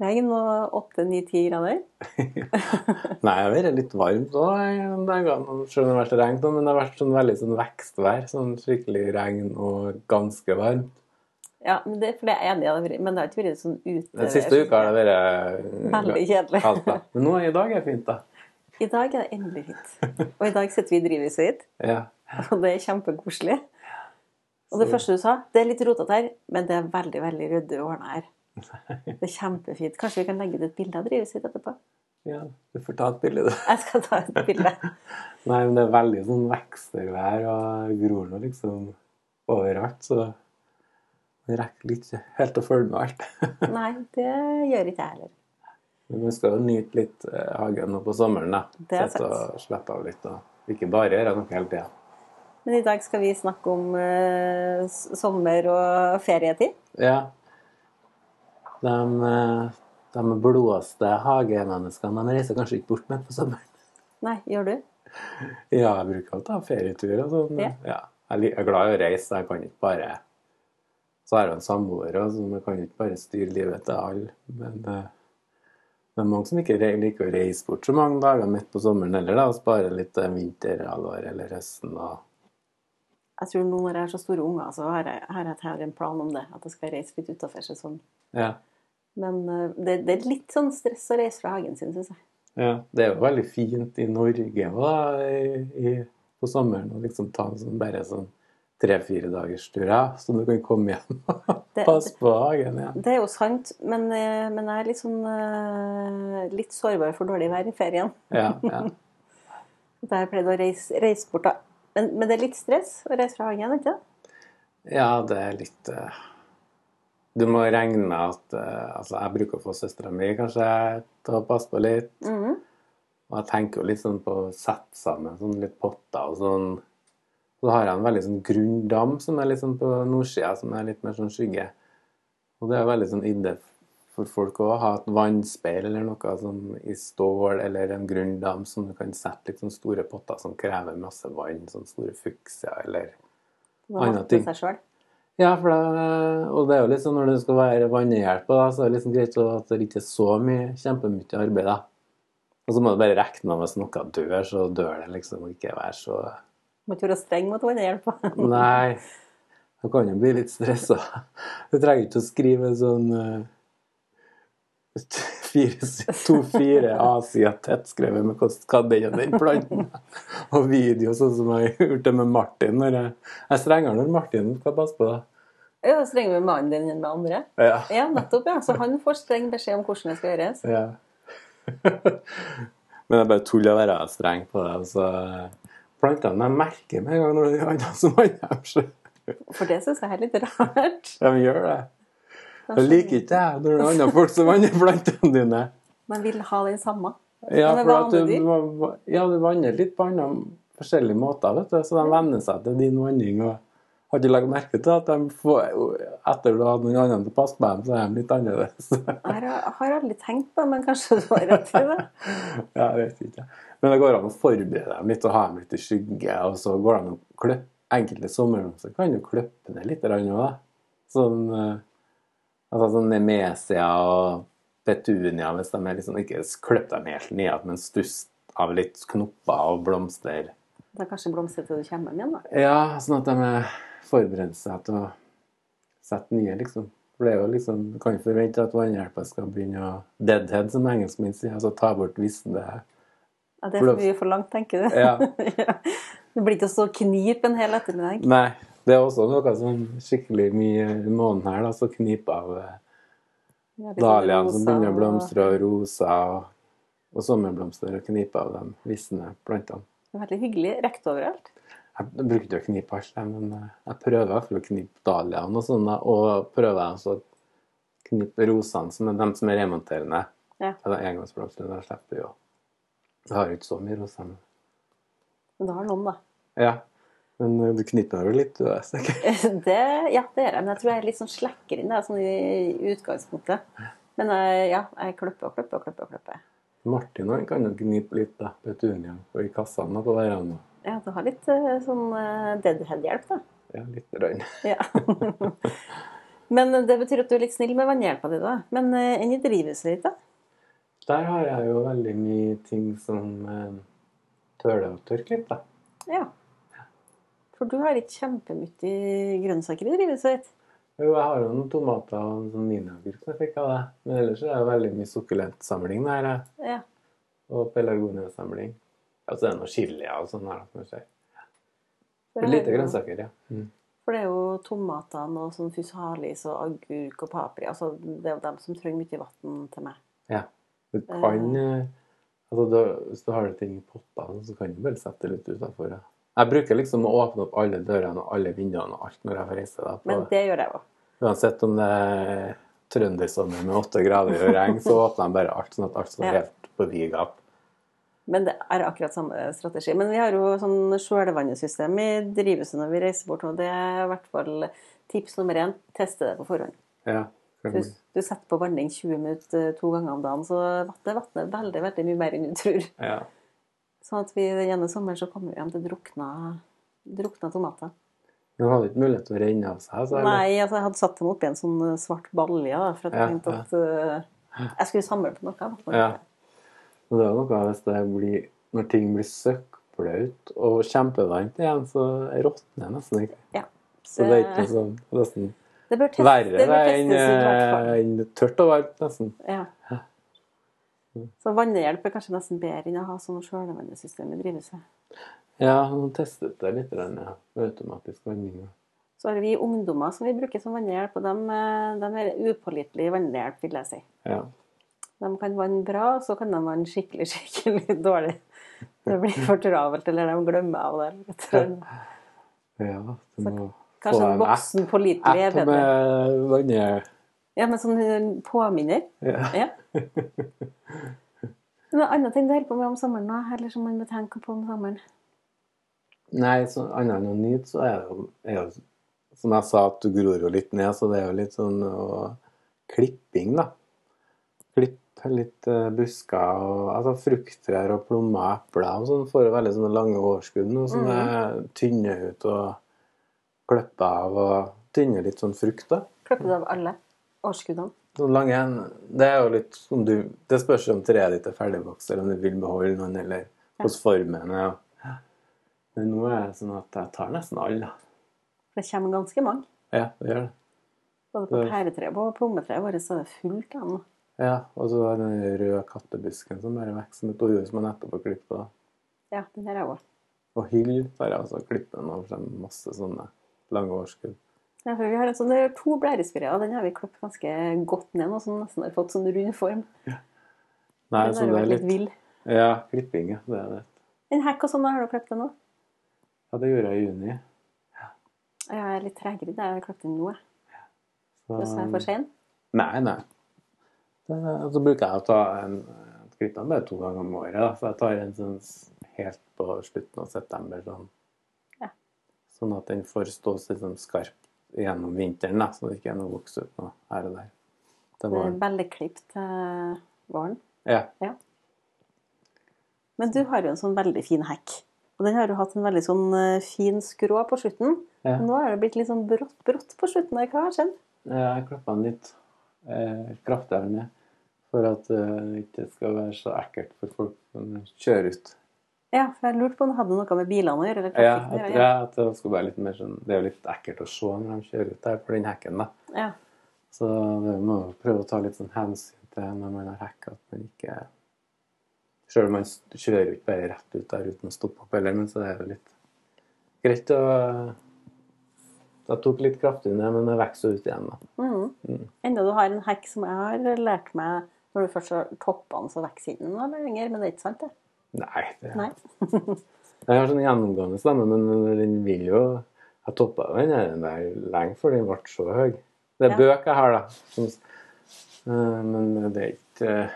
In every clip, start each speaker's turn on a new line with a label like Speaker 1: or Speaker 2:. Speaker 1: Regn og åtte, ni, ti grader.
Speaker 2: Nei, det har vært litt varmt òg de dagene, selv om det har vært regn. da, Men det har vært sånn veldig sånn vekstvær. Sånn skikkelig regn og ganske varmt.
Speaker 1: Ja, men det, for det er jeg enig i, det har vært- men det har ikke vært sånn ute.
Speaker 2: Den siste uka har det vært eh,
Speaker 1: Veldig kjedelig.
Speaker 2: kaldt. da. Men nå i dag er det fint, da.
Speaker 1: I dag er det endelig fint. Og i dag sitter vi i drivhuset hit,
Speaker 2: Ja.
Speaker 1: og det er kjempekoselig. Og det
Speaker 2: Så-
Speaker 1: første du sa, det er litt rotete her, men det er veldig, veldig ryddig og ordna her. Det er kjempefint. Kanskje vi kan legge ut et bilde av drivhuset hit etterpå?
Speaker 2: ja. Du får ta et bilde, du.
Speaker 1: Jeg skal ta et bilde.
Speaker 2: Nei, men det er veldig sånn vekstervær og gror nå liksom overalt, så man rekker litt ikke helt å følge med alt.
Speaker 1: Nei, det gjør ikke jeg heller.
Speaker 2: Men man skal jo nyte litt eh, hagen nå på sommeren, da.
Speaker 1: Det er
Speaker 2: Sette og slappe av litt. Og ikke bare gjøre noe hele tida.
Speaker 1: Men i dag skal vi snakke om eh, s- sommer og ferietid.
Speaker 2: Ja. De, eh, de blåeste hagemenneskene de reiser kanskje ikke bort mer på sommeren.
Speaker 1: Nei, gjør du?
Speaker 2: Ja, jeg bruker å ta ferieturer og sånn.
Speaker 1: Ja.
Speaker 2: Ja. Jeg lik- jeg er glad i å reise, så jeg kan ikke bare Så har jeg en samboer òg, så jeg kan ikke bare styre livet til alle. Men eh, det er mange som ikke re- liker å reise bort så mange dager midt på sommeren heller, da, og spare litt til vinterhalvåret eller høsten. Og...
Speaker 1: Jeg tror nå når jeg har så store unger, så har jeg, har jeg har en plan om det. At jeg skal reise litt utafor sesongen.
Speaker 2: Ja.
Speaker 1: Men eh, det, det er litt sånn stress å reise fra hagen sin, syns jeg.
Speaker 2: ja. Det er jo veldig fint i Norge også, da, i, i, på sommeren å liksom ta en sånn bare sånn tre-fire dagers tur, ja, så du kan komme hjem og
Speaker 1: Det-
Speaker 2: passe på hagen igjen.
Speaker 1: Det er jo sant, men, eh, men jeg er litt sånn eh, litt sårbar for dårlig vær i ferien.
Speaker 2: Ja, ja.
Speaker 1: Da har jeg pleid å reise, reise bort da. Men, men det er litt stress å reise fra hagen, ikke det?
Speaker 2: Ja, det er litt eh, Du må regne med at eh, Altså, jeg bruker å få søstera mi kanskje til å passe på litt.
Speaker 1: Mhm.
Speaker 2: Og jeg tenker jo litt sånn på å sette sammen sånn litt potter og sånn. Så har jeg en veldig sånn grunn dam som er litt sånn på nordsida, som er litt mer sånn skygge. Og det er jo veldig sånn idé for folk å ha et vannspeil eller noe sånn i stål eller en grunn dam som du kan sette litt sånn store potter som krever masse vann, sånn store fuksia eller
Speaker 1: Man
Speaker 2: Anna
Speaker 1: hater
Speaker 2: ting.
Speaker 1: seg selv.
Speaker 2: ja, for det, og det er jo litt sånn når du skal være vannhjelp, da, så er det liksom greit at det ikke er så mye kjempemye arbeid. da. Og så må du bare regne med at hvis noe dør, så dør det liksom, og ikke være så
Speaker 1: Må ikke være streng mot vannhjelpa.
Speaker 2: Nei, du kan jo bli litt stressa. Du trenger ikke å skrive en sånn eh, fire- to-fire A-sider tettskrevet med hvordan hva den og den planten Og video, sånn som jeg har gjort det med Martin. Når jeg, jeg er strengere når Martin skal passe på. da.
Speaker 1: Ja, streng med mannen din enn med andre.
Speaker 2: Ja.
Speaker 1: Ja, nettopp, ja. Så han får streng beskjed om hvordan det skal gjøres.
Speaker 2: Ja. Men jeg bare tuller å være streng på det. Altså, plantene jeg merker med en gang når det er andre som angjemmer seg.
Speaker 1: For det syns jeg er litt rart.
Speaker 2: De gjør det. Jeg liker ikke det når det er andre folk som vanner plantene dine.
Speaker 1: Man vil ha den samme.
Speaker 2: Ja,
Speaker 1: Men det
Speaker 2: for at du,
Speaker 1: vanner
Speaker 2: må- ja, du vanner litt på andre forskjellige måter, vet du. Så de venner seg til din vanning. og har ikke lagt merke til at de får, etter du har hatt noen andre til å passe på dem, så er de litt annerledes.
Speaker 1: Jeg har, jeg har aldri tenkt på det, men kanskje du har rett i det.
Speaker 2: Ja, jeg vet ikke. Men det går an å forberede dem litt og ha dem litt i skygge. Og så går det an å klippe enkelte sommerblomster. Kan du klippe ned litt òg, da? Sånn eh, altså sånn nemesia og petunia, hvis de er liksom ikke klipp dem helt ned, at men stuss av litt knopper og blomster.
Speaker 1: Da kanskje blomster til du kommer hjem igjen, da.
Speaker 2: Ja, sånn at de eh, forbereder seg til å sette nye, liksom. For det er jo liksom, Du kan ikke forvente at vannhjelpa skal begynne å deadhead, som engelskmenn sier. Altså ta bort visne
Speaker 1: Ja, det er for mye for langt, tenker du.
Speaker 2: Ja.
Speaker 1: Ja. Det blir ikke å stå og knipe en hel ettermiddag.
Speaker 2: Nei. Det er også noe som skikkelig mye i måneden her, da, så knip av eh,
Speaker 1: Ja, litt
Speaker 2: dahliaene
Speaker 1: rosa
Speaker 2: som begynner å
Speaker 1: og-
Speaker 2: blomstre, og roser og, og sommerblomster, og knip av de visne plantene.
Speaker 1: Det er Veldig hyggelig. Rekt overalt.
Speaker 2: Jeg bruker ikke å knipe alt, jeg, men eh, jeg prøver i hvert fall å knipe dahliaene og sånn, da, og prøver også å knipe rosene, som er de som er remonterende.
Speaker 1: Ja.
Speaker 2: Det er engangsblomster, da slipper vi jo Jeg har jo ikke så mye roser. men-
Speaker 1: Men du har noen, da.
Speaker 2: Ja. Men eh, du knytter deg jo litt, du er sikkert.
Speaker 1: Det, ja, det gjør jeg. Men jeg tror jeg er litt sånn slekker inn det, sånn i utgangspunktet. Men eh, ja, jeg klipper og klipper og klipper. og klipper.
Speaker 2: Martin han kan jo gnipe litt da, petuniaen og i kassene og på verandaen.
Speaker 1: Ja, du har litt eh, sånn eh, deadhead-hjelp, da.
Speaker 2: Ja, litt rann.
Speaker 1: Ja. Men eh, det betyr at du er litt snill med vannhjelpa di, da. Men eh, enn i drivhuset ditt, da?
Speaker 2: Der har jeg jo veldig mye ting som eh, tøler å tørke litt, da.
Speaker 1: Ja. For du har ikke kjempemye grønnsaker i drivhuset ditt.
Speaker 2: Jo, jeg har jo noen tomater og sånn miniagurk som jeg fikk av deg. Men ellers er det veldig mye sukkulentsamling der, jeg.
Speaker 1: Ja.
Speaker 2: og pelargoniasamling. Og så er det noe chili og sånn her. som jeg ser.
Speaker 1: For
Speaker 2: Det
Speaker 1: jeg
Speaker 2: er Lite
Speaker 1: har jo-
Speaker 2: grønnsaker, ja. Mm.
Speaker 1: For det er jo tomatene og sånn fusalis og agurk og paprika altså, Det er jo dem som trenger mye vann til meg.
Speaker 2: Du kan eh, altså da, Hvis du har ting i potter, så kan du bare sette det litt utafor. Ja. Jeg bruker liksom å åpne opp alle dørene og alle vinduene og alt når jeg får reise. Da, på,
Speaker 1: Men det gjør jeg òg.
Speaker 2: Uansett om det er trøndersommer med åtte grader og regn, så åpner jeg bare alt, sånn at alt står
Speaker 1: Ja.
Speaker 2: helt på vid gap.
Speaker 1: Men det er akkurat samme strategi. Men vi har jo sånn sjølvannesystem i drivhuset når vi reiser bort, og det er i hvert fall tips nummer én. Teste det på forhånd.
Speaker 2: Ja.
Speaker 1: Du, du setter på vanning 20 minutter eh, to ganger om dagen, så vannet vanner veldig, veldig mye mer enn du tror.
Speaker 2: ja.
Speaker 1: Sånn at vi den ene sommeren så kommer vi hjem til drukna, drukna tomater.
Speaker 2: Men hadde ikke mulighet til å renne av seg, så er det-
Speaker 1: Nei, altså, jeg hadde satt dem oppi en sånn eh, svart balje, da, for at jeg
Speaker 2: Ja,
Speaker 1: tenkte at eh, jeg skulle samle på noe. jeg måtte noe.
Speaker 2: Ja. Men det er jo noe hvis det blir Når ting blir søkkblaut og kjempevarmt igjen, så råtner det nesten ikke. Så det er ikke
Speaker 1: det,
Speaker 2: sånn nesten
Speaker 1: det bør testes.
Speaker 2: verre
Speaker 1: det
Speaker 2: det
Speaker 1: bør
Speaker 2: enn
Speaker 1: testes i hvert fall.
Speaker 2: eh, enn tørt og varmt, nesten.
Speaker 1: Ja.
Speaker 2: Mm.
Speaker 1: Så vannhjelp er kanskje nesten bedre enn å ha sånn sjølvannesystem i drivhuset.
Speaker 2: Ja, nå testet jeg litt grann, ja. med automatisk vanning.
Speaker 1: Så har vi ungdommer som vi bruker som vannhjelp, og de, er upålitelige vannhjelp, vil jeg si.
Speaker 2: Ja.
Speaker 1: De kan vanne bra, og så kan de vanne skikkelig, skikkelig dårlig. Det blir for travelt, eller de glemmer av det. rett og slett.
Speaker 2: ja du må få
Speaker 1: Kanskje en
Speaker 2: en app,
Speaker 1: voksen pålitelig er
Speaker 2: app
Speaker 1: bedre.
Speaker 2: med vann...
Speaker 1: Ja, men sånn eh, påminner.
Speaker 2: Ja.
Speaker 1: Ja. Men en annen ting du holder på med om sommeren nå, eller som man bør tenke på om sommeren?
Speaker 2: Nei, så annet enn å nyte, så er det jo- er jo Som jeg sa, at du gror jo litt ned, så det er jo litt sånn å, klipping, da. Klipp litt eh, busker og altså, frukttrær og plommer, epler og sånn. Får jo veldig sånne lange overskudd nå som er tynner ut og klipper av og tynner litt sånn frukt, da.
Speaker 1: Klipper du av alle årskuddene?
Speaker 2: Sånn lange en- Det er jo litt om du Det spørs om treet ditt er ferdigvokst, eller om du vil beholde noen, eller hvordan formen er. Ja. Men nå er det sånn at jeg tar nesten alle, da.
Speaker 1: For det kommer ganske mange.
Speaker 2: Ja, det gjør det.
Speaker 1: Både på
Speaker 2: Det-
Speaker 1: pæretreet og på plommetreet vårt så er det fullt av den.
Speaker 2: Ja, Og så er det den røde kattebusken som bare vokser som et orre som jeg nettopp har klippet. da.
Speaker 1: Ja, den her er også.
Speaker 2: Og hyll tar jeg også og klipper den over seg masse sånne lange overskudd.
Speaker 1: Ja, for vi har en sånn, det er to blærespirer, og den har vi klippet ganske godt ned nå, som nesten har fått sånn rund form.
Speaker 2: Nei,
Speaker 1: den
Speaker 2: så
Speaker 1: har jo
Speaker 2: det er
Speaker 1: vært litt
Speaker 2: litt
Speaker 1: vill.
Speaker 2: Ja, klipping, ja. Det er det.
Speaker 1: En hekk og sånn, da har du klippet den nå?
Speaker 2: Ja, det gjorde jeg i juni.
Speaker 1: Ja, Jeg er litt tregere, jeg har klippet den nå, jeg.
Speaker 2: Så-
Speaker 1: Hvis jeg er for sen.
Speaker 2: Nei, nei. Det, og så bruker jeg å ta en klippe den bare to ganger om året. Da. Så jeg tar en sånn s- helt på slutten av september. Sånn,
Speaker 1: Ja.
Speaker 2: sånn at den får stå liksom skarp gjennom vinteren, da, så det ikke er noe voks ut noe her og der. Det
Speaker 1: Det
Speaker 2: var,
Speaker 1: er veldig klippet til våren.
Speaker 2: ja,
Speaker 1: Men du har jo en sånn veldig fin hekk. Og den har jo hatt en veldig sånn eh, fin skrå på slutten.
Speaker 2: Ja.
Speaker 1: Nå er det blitt litt sånn brått, brått på slutten der. Hva har skjedd?
Speaker 2: jeg klipper den litt eh, kraftigere ned for at eh, det ikke skal være så ekkelt for folk som kjører ut.
Speaker 1: Ja, for jeg lurte på om det hadde noe med bilene å gjøre, eller
Speaker 2: Ja,
Speaker 1: trafikken å
Speaker 2: at,
Speaker 1: gjøre.
Speaker 2: ja, at det skal være litt mer sånn Det er jo litt ekkelt å se når de kjører ut der på den hekken, da.
Speaker 1: Ja.
Speaker 2: Så det må jo prøve å ta litt sånn hensyn til når man har hacka, at man ikke Sjøl om man s- kjører jo ikke bare rett ut der uten å stoppe opp heller, men så er det litt greit å Jeg tok litt kraftig ned, men det vokser jo ut igjen, da.
Speaker 1: Mhm.
Speaker 2: Mm.
Speaker 1: Enda du har en hekk som jeg har lært meg Når du først har toppene, så vokser ikke den noe lenger. Men det er ikke sant, det.
Speaker 2: Nei. det-
Speaker 1: Nei.
Speaker 2: Jeg har sånn gjennomgående stemme, men den vil jo Jeg toppa jo den her der lenge før den ble så høy. Det
Speaker 1: Ja.
Speaker 2: er bøk jeg har, da. Som, eh, men det er ikke eh,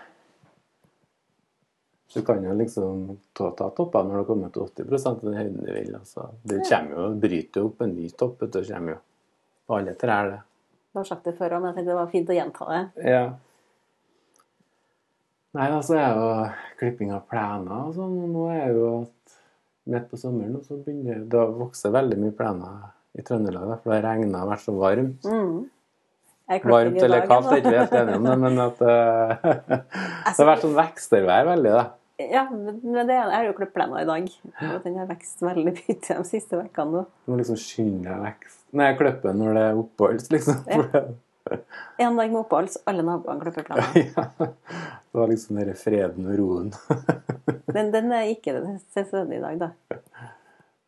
Speaker 2: Du kan jo liksom ta, ta topper når du har kommet til 80 av den høyden du vil. Altså. Det kommer jo, bryter jo opp en ny topp, vet du, det kommer jo på alle trær, det.
Speaker 1: Du har sagt det før òg, men jeg tenkte det var fint å gjenta det.
Speaker 2: Ja. Nei, altså er jo klipping av plener og sånn. og Nå er jo at midt på sommeren nå, så begynner det å vokse veldig mye plener i Trøndelag. da, For det har regna og vært så varmt.
Speaker 1: Mm. Jeg klarte
Speaker 2: Varmt
Speaker 1: ikke altså.
Speaker 2: eller
Speaker 1: dagen,
Speaker 2: kaldt, jeg er
Speaker 1: da.
Speaker 2: ikke helt enig om det, men at eh, Det har vært sånn vekstervær veldig, da.
Speaker 1: Ja, men det er jeg har jo klippet plenen i dag. Og den har vokst veldig mye de siste ukene nå.
Speaker 2: Du må liksom skynde deg vekst. Nei, klippe når det er oppholds, liksom.
Speaker 1: Ja.
Speaker 2: For det-
Speaker 1: En dag med opphold, så alle naboene klipper plenen.
Speaker 2: Ja. Det var liksom den der freden og roen.
Speaker 1: Den, den er ikke det stedet i dag, da.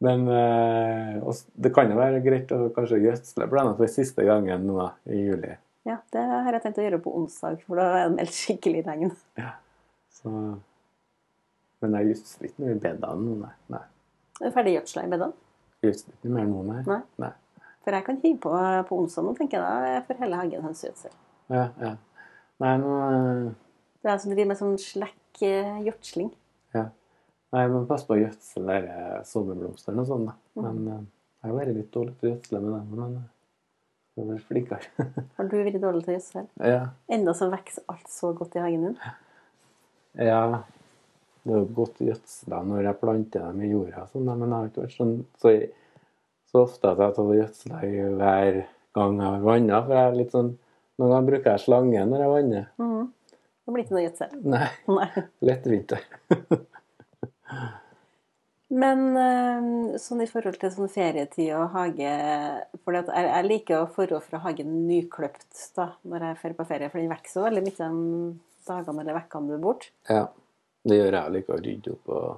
Speaker 2: Men eh, også, det kan jo være greit å kanskje gjødsle plenen for siste gangen nå da, i juli.
Speaker 1: Ja, det har jeg tenkt å gjøre på onsdag, for da er det meldt skikkelig regn.
Speaker 2: Så... Men jeg gjødsler ikke noe i bedene nå, nei. nei.
Speaker 1: Er du ferdig gjødsla i bedene?
Speaker 2: Jeg Gjødsler ikke mer nå, nei.
Speaker 1: Nei. For jeg kan hive på på onsdag nå, tenker jeg da. Jeg får hele hagen hønsegjødsel.
Speaker 2: Ja, ja. Nei, nå... eh,
Speaker 1: Det er jeg som driver med sånn slekk eh, gjødsling.
Speaker 2: Nei, men pass på å gjødsle der eh, sommerblomstene og sånn, da. Men eh, jeg har vært litt dårlig til å gjødsle med dem, men eh, jeg skal være flinkere.
Speaker 1: Har du vært dårlig til å gjødsel?
Speaker 2: ja.
Speaker 1: Enda så vokser alt så godt i hagen din.
Speaker 2: Ja, det er jo godt gjødsla når jeg planter dem i jorda, og sånn, da, men jeg har ikke vært sånn så, så ofte at jeg tar og gjødsler i hver gang jeg vanner. For jeg er litt sånn Noen ganger bruker jeg slange når jeg vanner.
Speaker 1: Mhm. Det blir ikke noe gjødsel.
Speaker 2: Nei,
Speaker 1: Nei.
Speaker 2: lettvint.
Speaker 1: Men eh, sånn i forhold til sånn ferietid og hage For jeg, jeg liker å forå fra hagen nykløpt da, når jeg drar på ferie, for den vokser så veldig mye de dagene eller ukene du er borte.
Speaker 2: Ja. Det gjør jeg. Jeg liker å rydde opp og,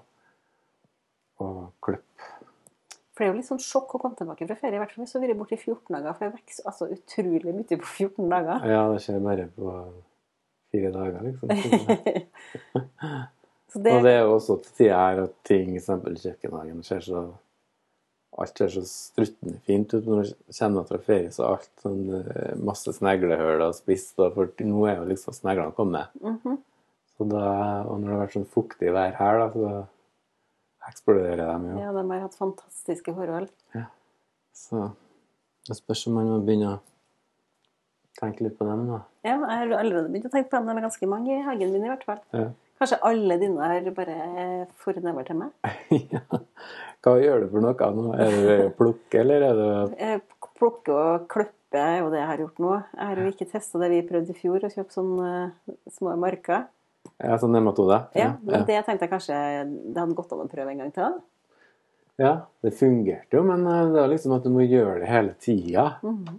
Speaker 2: og klippe.
Speaker 1: For det er jo litt sånn sjokk å komme tilbake fra ferie, i hvert fall hvis du har vært borte i 14 dager, for det vokser altså utrolig mye på 14 dager.
Speaker 2: Ja, det skjer bare på fire dager, liksom.
Speaker 1: så det,
Speaker 2: Og det er jo også til tider her at ting, f.eks. kjøkkenhagen, ser så Alt ser så struttende fint ut. Når du kommer fra ferie, så er alt sånn eh, masse sneglehull og spist, og for nå er jo liksom sneglene kommet.
Speaker 1: Mhm.
Speaker 2: Så da, og når det har vært sånn fuktig vær her, da, så eksploderer de jo.
Speaker 1: ja, de har hatt fantastiske forhold.
Speaker 2: Så det spørs om man må begynne å tenke litt på dem, da.
Speaker 1: Ja, jeg har allerede begynt å tenke på dem, det er ganske mange i hagen min i hvert fall.
Speaker 2: Ja.
Speaker 1: Kanskje alle dine har bare for nedover til meg.
Speaker 2: Ja. Hva gjør du for noe nå? Er det å plukke, eller er det
Speaker 1: Eh, Plukke og klippe er jo det jeg har gjort nå. Jeg har jo ikke testa det vi prøvde i fjor, å kjøpe sånne eh, små marker.
Speaker 2: ja, sånn nematoder?
Speaker 1: Ja, men det tenkte jeg kanskje det hadde gått an å prøve en gang til.
Speaker 2: Ja, det fungerte jo, men eh, det er liksom at du må gjøre det hele tida.
Speaker 1: Mhm.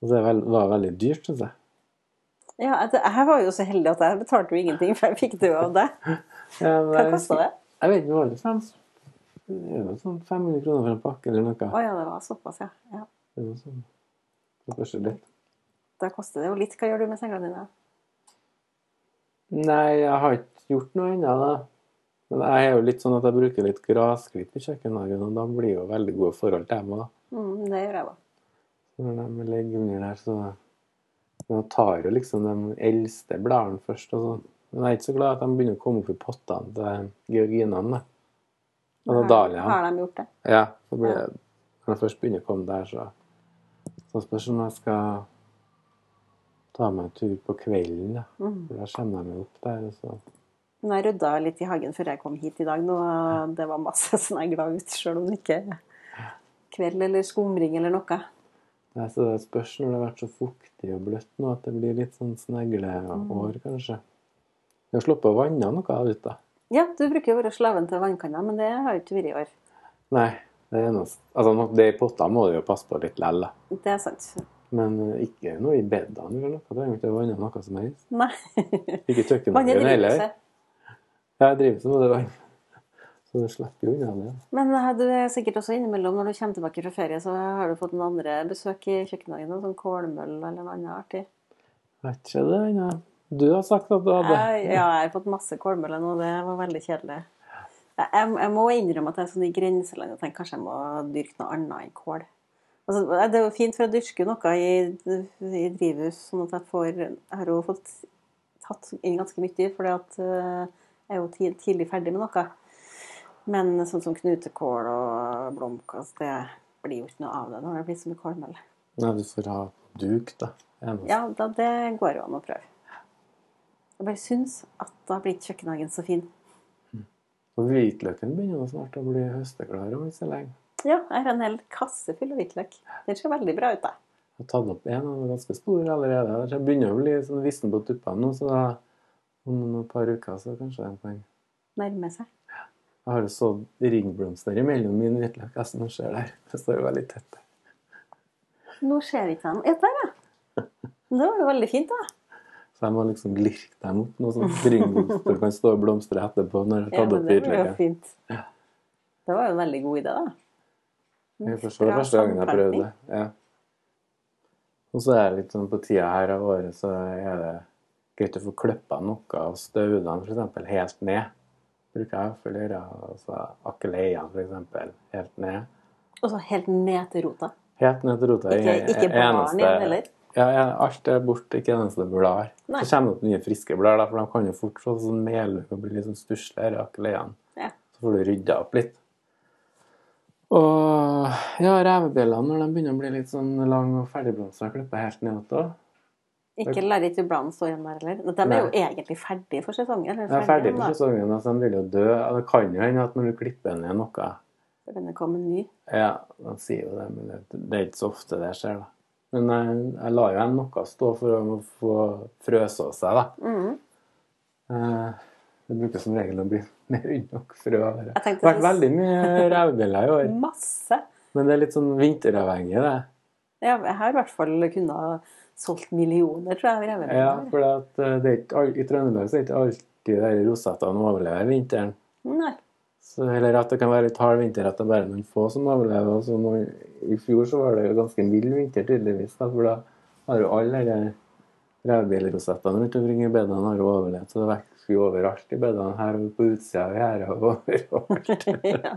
Speaker 2: Og det er vel- var veldig dyrt, syns jeg.
Speaker 1: Ja, at- jeg var jo så heldig at jeg betalte jo ingenting, for jeg fikk det jo av deg.
Speaker 2: Ja, men
Speaker 1: Hva
Speaker 2: jeg-
Speaker 1: kosta det?
Speaker 2: Jeg vet ikke, var det fem, det er jo sånn 500 kroner for en pakke eller noe?
Speaker 1: Å ja, det var såpass, ja. ja.
Speaker 2: Det er jo sånn. Det koster litt.
Speaker 1: Da koster det jo litt. Hva gjør du med sengene dine?
Speaker 2: Nei, jeg har ikke gjort noe ennå, da. Men jeg er jo litt sånn at jeg bruker litt grasklipp i kjøkkenhagen, og da blir jo veldig gode forhold til dem. da.
Speaker 1: Mm, det gjør jeg òg.
Speaker 2: Når de ligger under der, så De tar jo liksom de eldste bladene først og sånn. Men jeg er ikke så glad at de begynner å komme opp i pottene til georginene, da. Altså dahliaen.
Speaker 1: Har de gjort det?
Speaker 2: Ja, så blir det Når de først begynner å komme der, så Så spørs om jeg skal ta meg en tur på kvelden, da.
Speaker 1: Mm.
Speaker 2: For da kommer de jo opp der, og så
Speaker 1: Men jeg rydda litt i hagen før jeg kom hit i dag. Nå, og det var masse snegler ut, sjøl om det ikke er kveld eller skumring eller noe.
Speaker 2: Nei, så det spørs når det har vært så fuktig og bløtt nå, at det blir litt sånn snegleår, kanskje. Jeg har sluppet å vanne noe av det, da.
Speaker 1: Ja, du bruker jo å være slaven til vannkanna, men det har jo ikke vært i år.
Speaker 2: Nei, det er noe Altså, nok- det i potta må du jo passe på litt lell, da.
Speaker 1: Det er sant.
Speaker 2: Men eh, ikke noe i bedene eller noe. Det er jo ikke vannet noe som helst.
Speaker 1: Nei.
Speaker 2: Ikke
Speaker 1: Vannet
Speaker 2: kjøkkenhagen
Speaker 1: driver
Speaker 2: heller.
Speaker 1: seg.
Speaker 2: Ja, jeg driver så med det vann. Så det slipper jo unna det.
Speaker 1: Men eh, du er sikkert også innimellom når du kommer tilbake fra ferie, så har du fått noen andre besøk i kjøkkenhagen. Noen sånn kålmøll eller noe annet artig.
Speaker 2: Vet ikke det ennå. Du har sagt at du hadde
Speaker 1: Jeg, ja, jeg har fått masse kålmøller nå, det var veldig kjedelig. Jeg, jeg- jeg må innrømme at jeg er sånn i grenselandet og tenker kanskje jeg må dyrke noe annet enn kål. Altså, det er jo fint, for jeg dyrker noe i, i drivhus, sånn at jeg får Jeg har jo fått tatt inn ganske mye, fordi at eh, er jo ti- tidlig ferdig med noe. Men sånn som knutekål og blomkål, altså, det blir jo ikke noe av det når det blir så mye kålmel.
Speaker 2: Nei, du får ha duk, da. Eneste.
Speaker 1: Ja, da, det går jo an å prøve. Jeg bare syns at da blir ikke kjøkkenhagen så fin.
Speaker 2: Og hvitløken begynner jo snart å bli høsteklar om ikke så lenge.
Speaker 1: Ja, jeg har en hel kasse full av hvitløk. Den ser veldig bra ut, da.
Speaker 2: Jeg har tatt opp en, og den er ganske stor allerede. Så jeg begynner å bli sånn vissen på tuppene nå, så da, om noen par uker så kanskje jeg kan
Speaker 1: Nærmer seg.
Speaker 2: Jeg har jo sådd ringblomster imellom min hvitløk. Jeg som ser der. Det står jo veldig tett. der.
Speaker 1: Nå ser jeg ikke dem. Ja, der, ja. Det var jo veldig fint, da.
Speaker 2: Så jeg må liksom lirke dem opp nå, sånn at ringblomster kan stå og blomstre etterpå når jeg
Speaker 1: Ja,
Speaker 2: har tatt
Speaker 1: men
Speaker 2: opp
Speaker 1: det var jo
Speaker 2: hvitløken.
Speaker 1: fint. Det var jo en veldig god idé, da.
Speaker 2: Jeg forstår
Speaker 1: Bra
Speaker 2: første gangen jeg prøvde
Speaker 1: sammenplanting.
Speaker 2: det. Ja. Og så er det litt sånn på tida her av året så er det greit å få klippa noe av staudene f.eks. helt ned. Bruker jeg for å gjøre. Altså akkeleiene f.eks. helt ned.
Speaker 1: Og så helt ned til rota.
Speaker 2: Helt ned til rota.
Speaker 1: Ikke,
Speaker 2: Jeg-
Speaker 1: ikke
Speaker 2: jeg-
Speaker 1: barn igjen heller.
Speaker 2: Ja, ja, alt er borte, ikke eneste blad.
Speaker 1: Nei.
Speaker 2: Så kommer det opp nye friske blad, da, for de kan jo fort få sånn melhue og bli litt sånn stusslige, her, akkeleiene.
Speaker 1: Ja.
Speaker 2: Så får du rydda opp litt. Og ja, revebjellene, når de begynner å bli litt sånn lang og ferdigblomstra, klipper jeg helt ned igjen.
Speaker 1: Ikke lærer ikke bladen stå igjen der heller. De er jo egentlig ferdige for sesongen. Eller
Speaker 2: Jeg er ferdig
Speaker 1: ferdige,
Speaker 2: for
Speaker 1: da.
Speaker 2: sesongen, altså de vil jo dø. Og Det kan jo hende at når du klipper ned noe
Speaker 1: For denne kom en ny.
Speaker 2: Ja, de sier jo det, men det, det er ikke så ofte det skjer, da. Men jeg, jeg lar jo en noe stå for å få frøsa seg, da.
Speaker 1: Mhm.
Speaker 2: Eh, Det bruker som regel å bli mer enn nok frø. av Det
Speaker 1: Jeg
Speaker 2: Det
Speaker 1: tenkte
Speaker 2: har vært
Speaker 1: sånn-
Speaker 2: veldig mye revebjeller i år,
Speaker 1: Masse.
Speaker 2: men det er litt sånn vinteravhengig, det.
Speaker 1: Ja, jeg har i hvert fall kunnet ha solgt millioner, tror jeg. av revebiler.
Speaker 2: Ja, for at eh, det er ikke, all- i Trøndelag så er ikke alltid de rosettene overlever vinteren.
Speaker 1: Nei.
Speaker 2: Så, eller at det kan være litt hard vinter, at det er bare noen få som overlever. Og så nå, I fjor så var det jo ganske mild vinter, tydeligvis. Da, for da har jo alle de revebjellerosettene rundt omkring i bedene har jo overlevd. Så det vokser jo overalt i bedene her og på utsida av gjerdet og overalt.
Speaker 1: ja.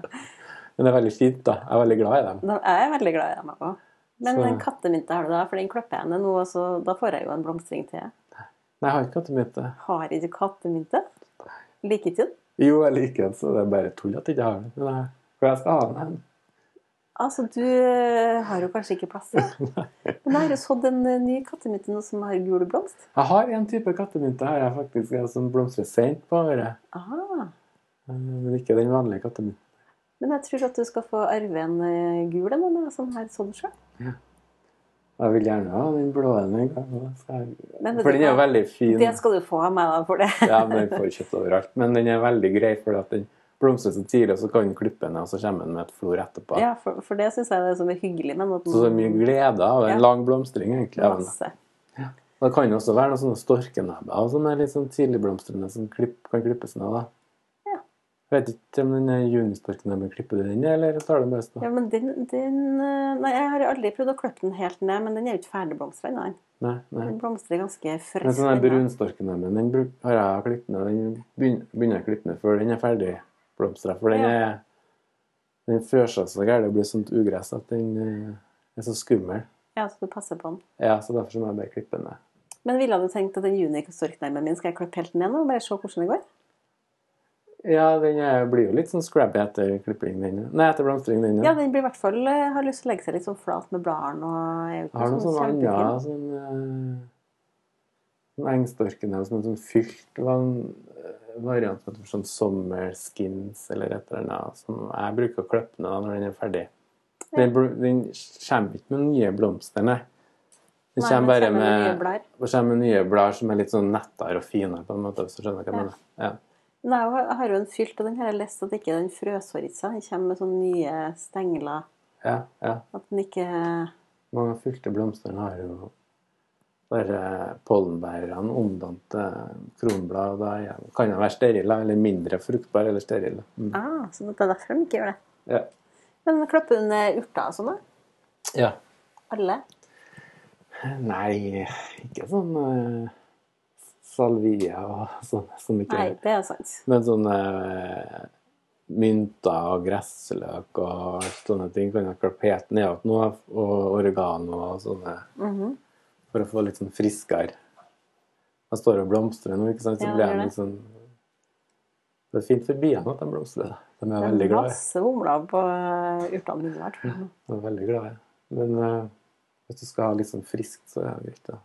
Speaker 2: Men det er veldig fint, da. Jeg er veldig glad i dem.
Speaker 1: Da er jeg veldig glad i dem òg. Men
Speaker 2: Så-
Speaker 1: den kattemynta har du da, for den klipper jeg ned nå, og så da får jeg jo en blomstring til.
Speaker 2: Nei, jeg har ikke kattemynte.
Speaker 1: Har ikke kattemynte? Liker ikke den.
Speaker 2: Jo, jeg liker den, så det er bare tull at jeg ikke har den. Men jeg- For jeg skal ha den.
Speaker 1: Altså, du har jo kanskje ikke plass til det. Men jeg har jo sådd en eh, ny kattemynte nå som har gul blomst.
Speaker 2: Jeg har en type kattemynte her jeg faktisk er som blomstrer sent på året.
Speaker 1: Ah,
Speaker 2: Eh, Men ikke den vanlige kattemynten.
Speaker 1: men jeg tror at du skal få arve en eh, gul en eller noe som har sådd sjøl.
Speaker 2: Jeg vil gjerne ha den blå en en gang. og da skal jeg-
Speaker 1: Men vet
Speaker 2: For
Speaker 1: du
Speaker 2: den er jo
Speaker 1: hva?
Speaker 2: veldig fin.
Speaker 1: Det skal du få av meg da for det.
Speaker 2: Ja, men Den får kjøpt overalt. Men den er veldig grei, for at den blomstrer så tidlig, og så kan den klippe ned, og så kommer den med et flor etterpå.
Speaker 1: Ja, for, for det syns jeg det er så mye hyggelig med noe.
Speaker 2: Så det er mye glede av en
Speaker 1: Ja.
Speaker 2: lang blomstring, egentlig. av den.
Speaker 1: Masse.
Speaker 2: Og Det kan jo også være noen sånne storkenebber og sånne litt sånn tidligblomstrende som klipp, kan klippes ned. da.
Speaker 1: Ja.
Speaker 2: Jeg vet ikke om den junistorkenebben klipper du den, eller tar du den best? da?
Speaker 1: Ja, men den, den eh, Nei, jeg har aldri prøvd å klippe den helt ned, men den er jo ikke ferdigblomstra ennå. den.
Speaker 2: Nei, nei.
Speaker 1: Den blomstrer ganske
Speaker 2: Men
Speaker 1: fresk. den
Speaker 2: sånn der
Speaker 1: da.
Speaker 2: brunstorkenebben, den bruk, har jeg klippet ned. Den begyn- begynner jeg å klippe ned før den er ferdig blomstra. For den
Speaker 1: Ja.
Speaker 2: er den frøser så gærent og blir sånt ugress at den eh, er så skummel.
Speaker 1: Ja, så du passer på den.
Speaker 2: Ja, så derfor så må jeg bare klippe den ned.
Speaker 1: Men ville du tenkt at den junistorknermen min skal jeg klippe helt ned nå? Bare se hvordan det går?
Speaker 2: Ja, den er, blir jo litt sånn scrabby etter klipping, den. ja. Nei, etter blomstring, den.
Speaker 1: Ja, den blir i hvert fall eh, har lyst til å legge seg litt sånn flat med bladene og er jo
Speaker 2: Jeg har
Speaker 1: ikke
Speaker 2: noen
Speaker 1: sånn
Speaker 2: sånne andre
Speaker 1: kjempefin.
Speaker 2: sånn, eh, sånn engstorkene som en sånn fylt van- eh, variant av sånn summer skins eller et eller annet. Som jeg bruker å klippe ned da når den er ferdig. Den, bl- den kommer ikke med nye blomster, nei. Den
Speaker 1: Nei, men
Speaker 2: kommer bare
Speaker 1: kommer med nye
Speaker 2: med,
Speaker 1: blader.
Speaker 2: det kommer med nye blader som er litt sånn nettere og finere, på en måte, hvis du skjønner hva jeg
Speaker 1: Ja.
Speaker 2: mener. Ja.
Speaker 1: Nei, jeg har- jeg har jo en fylt, og den har jeg lest at ikke den frøsår ikke seg. Den kommer med sånne nye stengler.
Speaker 2: Ja, ja.
Speaker 1: At den ikke
Speaker 2: Mange av fylte blomstene har jo bare pollenbærerne omdannet til kronblad. og Da er- kan de være sterile eller mindre fruktbare eller sterile. Mm.
Speaker 1: Ah, så det er derfor den ikke gjør det.
Speaker 2: Ja.
Speaker 1: Men klipper hun eh, urter og sånn, da?
Speaker 2: ja.
Speaker 1: Alle?
Speaker 2: Nei, ikke sånn eh, salvia og sånn som ikke
Speaker 1: Nei, det er sant.
Speaker 2: Men sånne eh, mynter og gressløk og alt sånne ting kan jeg klippe helt ned igjen nå. Og oregano og sånne.
Speaker 1: Mhm.
Speaker 2: For å få litt sånn friskere. Jeg står og blomstrer nå, ikke sant? Så
Speaker 1: Ja,
Speaker 2: blir
Speaker 1: det gjør
Speaker 2: jeg
Speaker 1: det.
Speaker 2: litt sånn Det er fint for biene at de blomstrer. da. De er veldig Mm. glade.
Speaker 1: Masse humler på eh, urtene mine, i hvert fall.
Speaker 2: De er veldig glade. Men eh, hvis du skal ha litt sånn friskt, så er det viktig å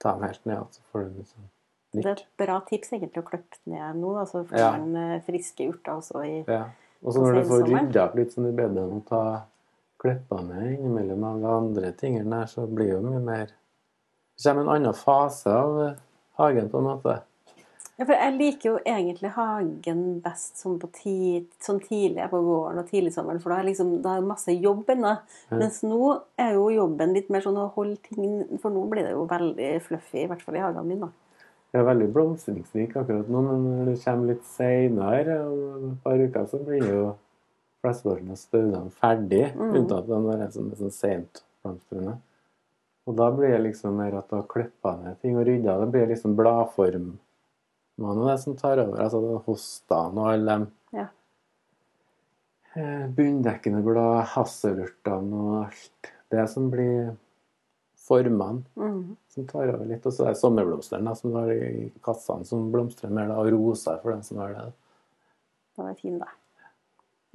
Speaker 2: ta dem helt ned, og så får du litt sånn
Speaker 1: Det er
Speaker 2: nytt.
Speaker 1: et bra tips egentlig å klippe ned nå, da, så får
Speaker 2: Ja.
Speaker 1: man eh, friske urter også i
Speaker 2: Ja. Og så
Speaker 1: Og
Speaker 2: når du
Speaker 1: så
Speaker 2: får
Speaker 1: ensomme.
Speaker 2: rydda opp litt sånn i bedene og ta klippa ned innimellom alle andre tingene der, så blir det jo mye mer Det kommer en annen fase av eh, hagen, på en måte.
Speaker 1: Ja, for jeg liker jo egentlig hagen best sånn, på ti, sånn tidlig på våren og tidlig sommeren, for da er liksom, da er det masse jobb ennå.
Speaker 2: Ja.
Speaker 1: Mens nå er jo jobben litt mer sånn å holde ting For nå blir det jo veldig fluffy, i hvert fall i hagen min, da.
Speaker 2: Det er veldig blomstringsrik akkurat nå, men når det kommer litt seinere, om et par uker, så blir jo flesteparten av staudene ferdig,
Speaker 1: Mm.
Speaker 2: unntatt den der som er sånn seint blomstrende. Og da blir det liksom mer at du har klippa ned ting og rydda. Det blir liksom bladform. Man er det som tar over. Altså det er hostene og alle de
Speaker 1: Ja.
Speaker 2: eh, bunndekkende blad, hasselurtene og alt. Det som blir formene
Speaker 1: Mhm.
Speaker 2: som tar over litt. Og så er det sommerblomsteren da, som har i kassene som blomstrer mer, da, og rosa for dem som har det.
Speaker 1: Den er fin, da.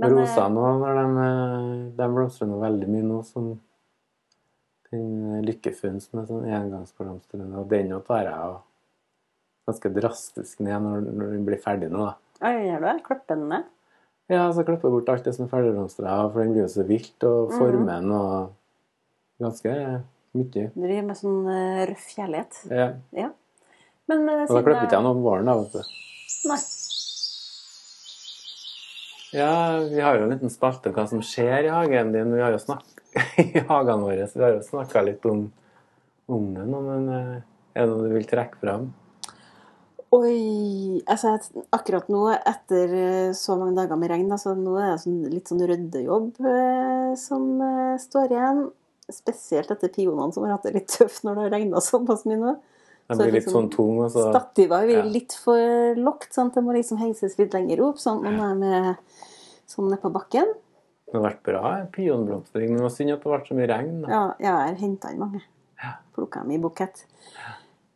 Speaker 1: eh,
Speaker 2: Rosa nå, når de, eh, de blomstrer nå veldig mye nå, som den lykkefunn som er sånn engangsblomstrende, og den nå tar jeg jo ganske drastisk ned når, når den blir ferdig nå, da.
Speaker 1: eh, ja, gjør du det? Klipper den ned?
Speaker 2: Ja, så klipper jeg bort alt det som er ferdigblomstra, for den blir jo så vilt, og
Speaker 1: Mhm.
Speaker 2: formen og ganske mye.
Speaker 1: Du driver med sånn eh, røff kjærlighet.
Speaker 2: Ja.
Speaker 1: Ja. Men eh,
Speaker 2: Og da
Speaker 1: siden
Speaker 2: klipper
Speaker 1: jeg-
Speaker 2: ikke jeg noe om våren, da, vet du.
Speaker 1: Nei.
Speaker 2: Ja, vi har jo en liten spalte om hva som skjer i hagen din. Vi har jo snakket i hagene våre, så vi har jo snakka litt om, om det nå, men eh, er det noe du vil trekke fram?
Speaker 1: Oi altså jeg- Akkurat nå, etter eh, så mange dager med regn, altså nå er det sånn, litt sånn ryddejobb eh, som eh, står igjen. Spesielt etter pionene, som har hatt det litt tøft når det har regna såpass mye nå.
Speaker 2: Den
Speaker 1: Så
Speaker 2: blir litt
Speaker 1: liksom
Speaker 2: sånn tung, og så
Speaker 1: Stativet blir
Speaker 2: ja.
Speaker 1: litt for lågt, sant? det må liksom heises litt lenger opp, sånn at man er med sånn ned på bakken.
Speaker 2: Det har vært bra pionblomstring, men det var synd at det ble så mye regn. da.
Speaker 1: Ja, jeg har henta inn mange. Plukka dem i bukett.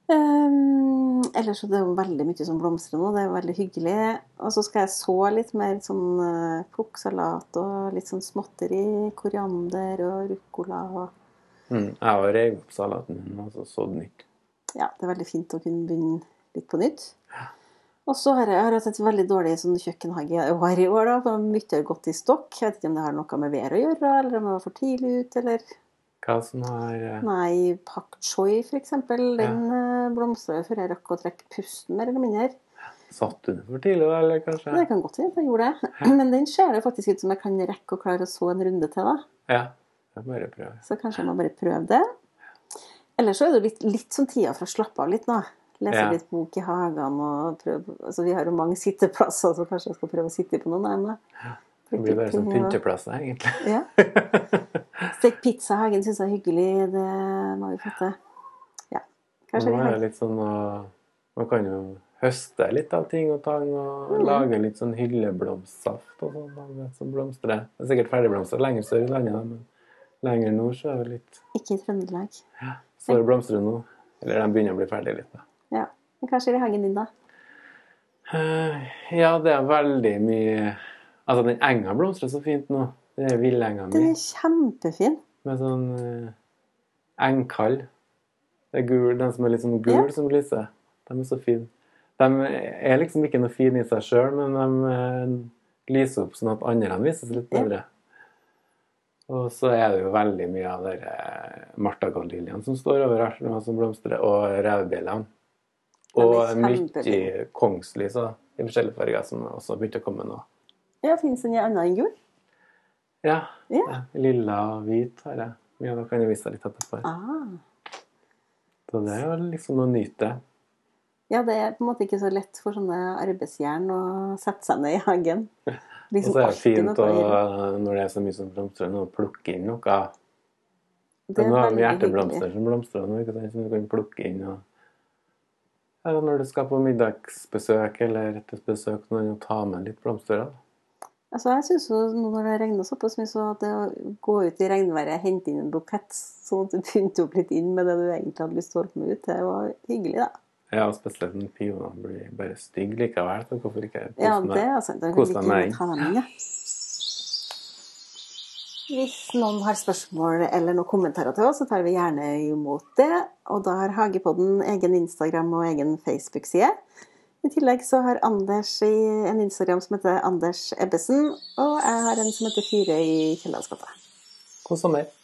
Speaker 1: Um, ellers så det er jo veldig mye som blomstrer nå. Det er jo veldig hyggelig. Og så skal jeg så litt mer sånn eh, plukksalat og litt sånn småtteri. Koriander og ruccola og
Speaker 2: Mm, jeg har revet opp salaten min og så sådd nytt.
Speaker 1: ja, det er veldig fint å kunne begynne litt på nytt. Og så har jeg, jeg har hatt et veldig dårlig sånn kjøkkenhage i år i år, da. for Mye har gått i stokk. Jeg vet ikke om det har noe med været å gjøre, eller om jeg var for tidlig ute, eller
Speaker 2: Hva som har eh,
Speaker 1: Nei, pak choi for eksempel, den ja. blomstra jo før jeg rakk å trekke pusten, mer eller mindre.
Speaker 2: satt under for tidlig, da, eller kanskje?
Speaker 1: Det kan godt hende at jeg gjorde det. Men den ser det faktisk ut som jeg kan rekke å klare å så en runde til, da.
Speaker 2: Ja. Jeg bare prøver.
Speaker 1: Så kanskje jeg må bare prøve det. Ellers så er det jo litt, litt sånn tida for å slappe av litt, da. Lese
Speaker 2: Ja.
Speaker 1: litt bok i hagene og prøve Altså, vi har jo mange sitteplasser, så kanskje jeg skal prøve å sitte på noen av dem, da.
Speaker 2: Det blir bare sånn pynteplasser, egentlig.
Speaker 1: Ja. Stek pizza i hagen syns jeg er hyggelig. Det må vi få til. Ja. Kanskje
Speaker 2: Nå
Speaker 1: vi
Speaker 2: er
Speaker 1: har
Speaker 2: det litt sånn å- Man kan jo høste litt av ting og tang og
Speaker 1: Mm.
Speaker 2: lage litt sånn hylleblomstsaft og sånn. av det Som blomstrer. Det er sikkert ferdigblomstret lenger sør i landet, da, men lenger nord så er det litt
Speaker 1: Ikke i Trøndelag.
Speaker 2: Så det blomstrer nå. Eller de begynner å bli ferdige litt, da.
Speaker 1: Ja. Men hva skjer i hagen din, da?
Speaker 2: Eh, Ja, det er veldig mye Altså, den enga blomstrer så fint nå. Det er villenga mi
Speaker 1: Den er kjempefin.
Speaker 2: med sånn eh, engkall. Det er gul, den som er litt sånn gul som lyser. De er så fine. De er liksom ikke noe fine i seg sjøl, men de eh, lyser opp sånn at andre vises litt
Speaker 1: Ja.
Speaker 2: bedre. Og så er det jo veldig mye av de eh, martagalliljen som står overalt nå, som blomstrer, og revebjellene.
Speaker 1: Den
Speaker 2: Og
Speaker 1: er
Speaker 2: mye
Speaker 1: kjempefin.
Speaker 2: kongslys da, i forskjellige farger som også begynte å komme nå.
Speaker 1: Ja, Fins den i annet enn gul?
Speaker 2: Ja.
Speaker 1: Ja.
Speaker 2: Lilla og hvit har jeg. Ja, da kan jeg vise deg litt etterpå.
Speaker 1: Ah.
Speaker 2: Så det er jo liksom å nyte.
Speaker 1: Ja, det er på en måte ikke så lett for sånne arbeidsjern å sette seg ned i hagen. Liksom
Speaker 2: Og så er det fint å, når det er så mye som blomstrer, nå, å plukke inn noe.
Speaker 1: Det
Speaker 2: Men
Speaker 1: er
Speaker 2: nå har vi
Speaker 1: veldig hyggelig.
Speaker 2: hjerteblomster som blomstrer nå, ikke sant? som du kan plukke inn. Og... Eller når du skal på middagsbesøk eller et besøk, så kan du ta med litt blomster. Da.
Speaker 1: Altså, jeg syns jo nå når det regner såpass mye, så at det å gå ut i regnværet, hente inn en bukett, sånn at du pynter opp litt inn med det du egentlig hadde lyst til å holde på med ut, det var hyggelig, da.
Speaker 2: Ja, og spesielt den pioner blir bare stygg likevel, så hvorfor ikke kose
Speaker 1: Ja,
Speaker 2: med
Speaker 1: det er sant. Da kan
Speaker 2: Kos
Speaker 1: vi
Speaker 2: deg
Speaker 1: ikke
Speaker 2: med en.
Speaker 1: ta dem inn, ja. Hvis noen har spørsmål eller noen kommentarer til oss, så tar vi gjerne imot det. Og da har Hagepodden egen Instagram og egen Facebook-side. I tillegg så har Anders i en Instagram som heter Anders Ebbesen, og jeg har en som heter Fyre i kjellerskapet.
Speaker 2: God sommer.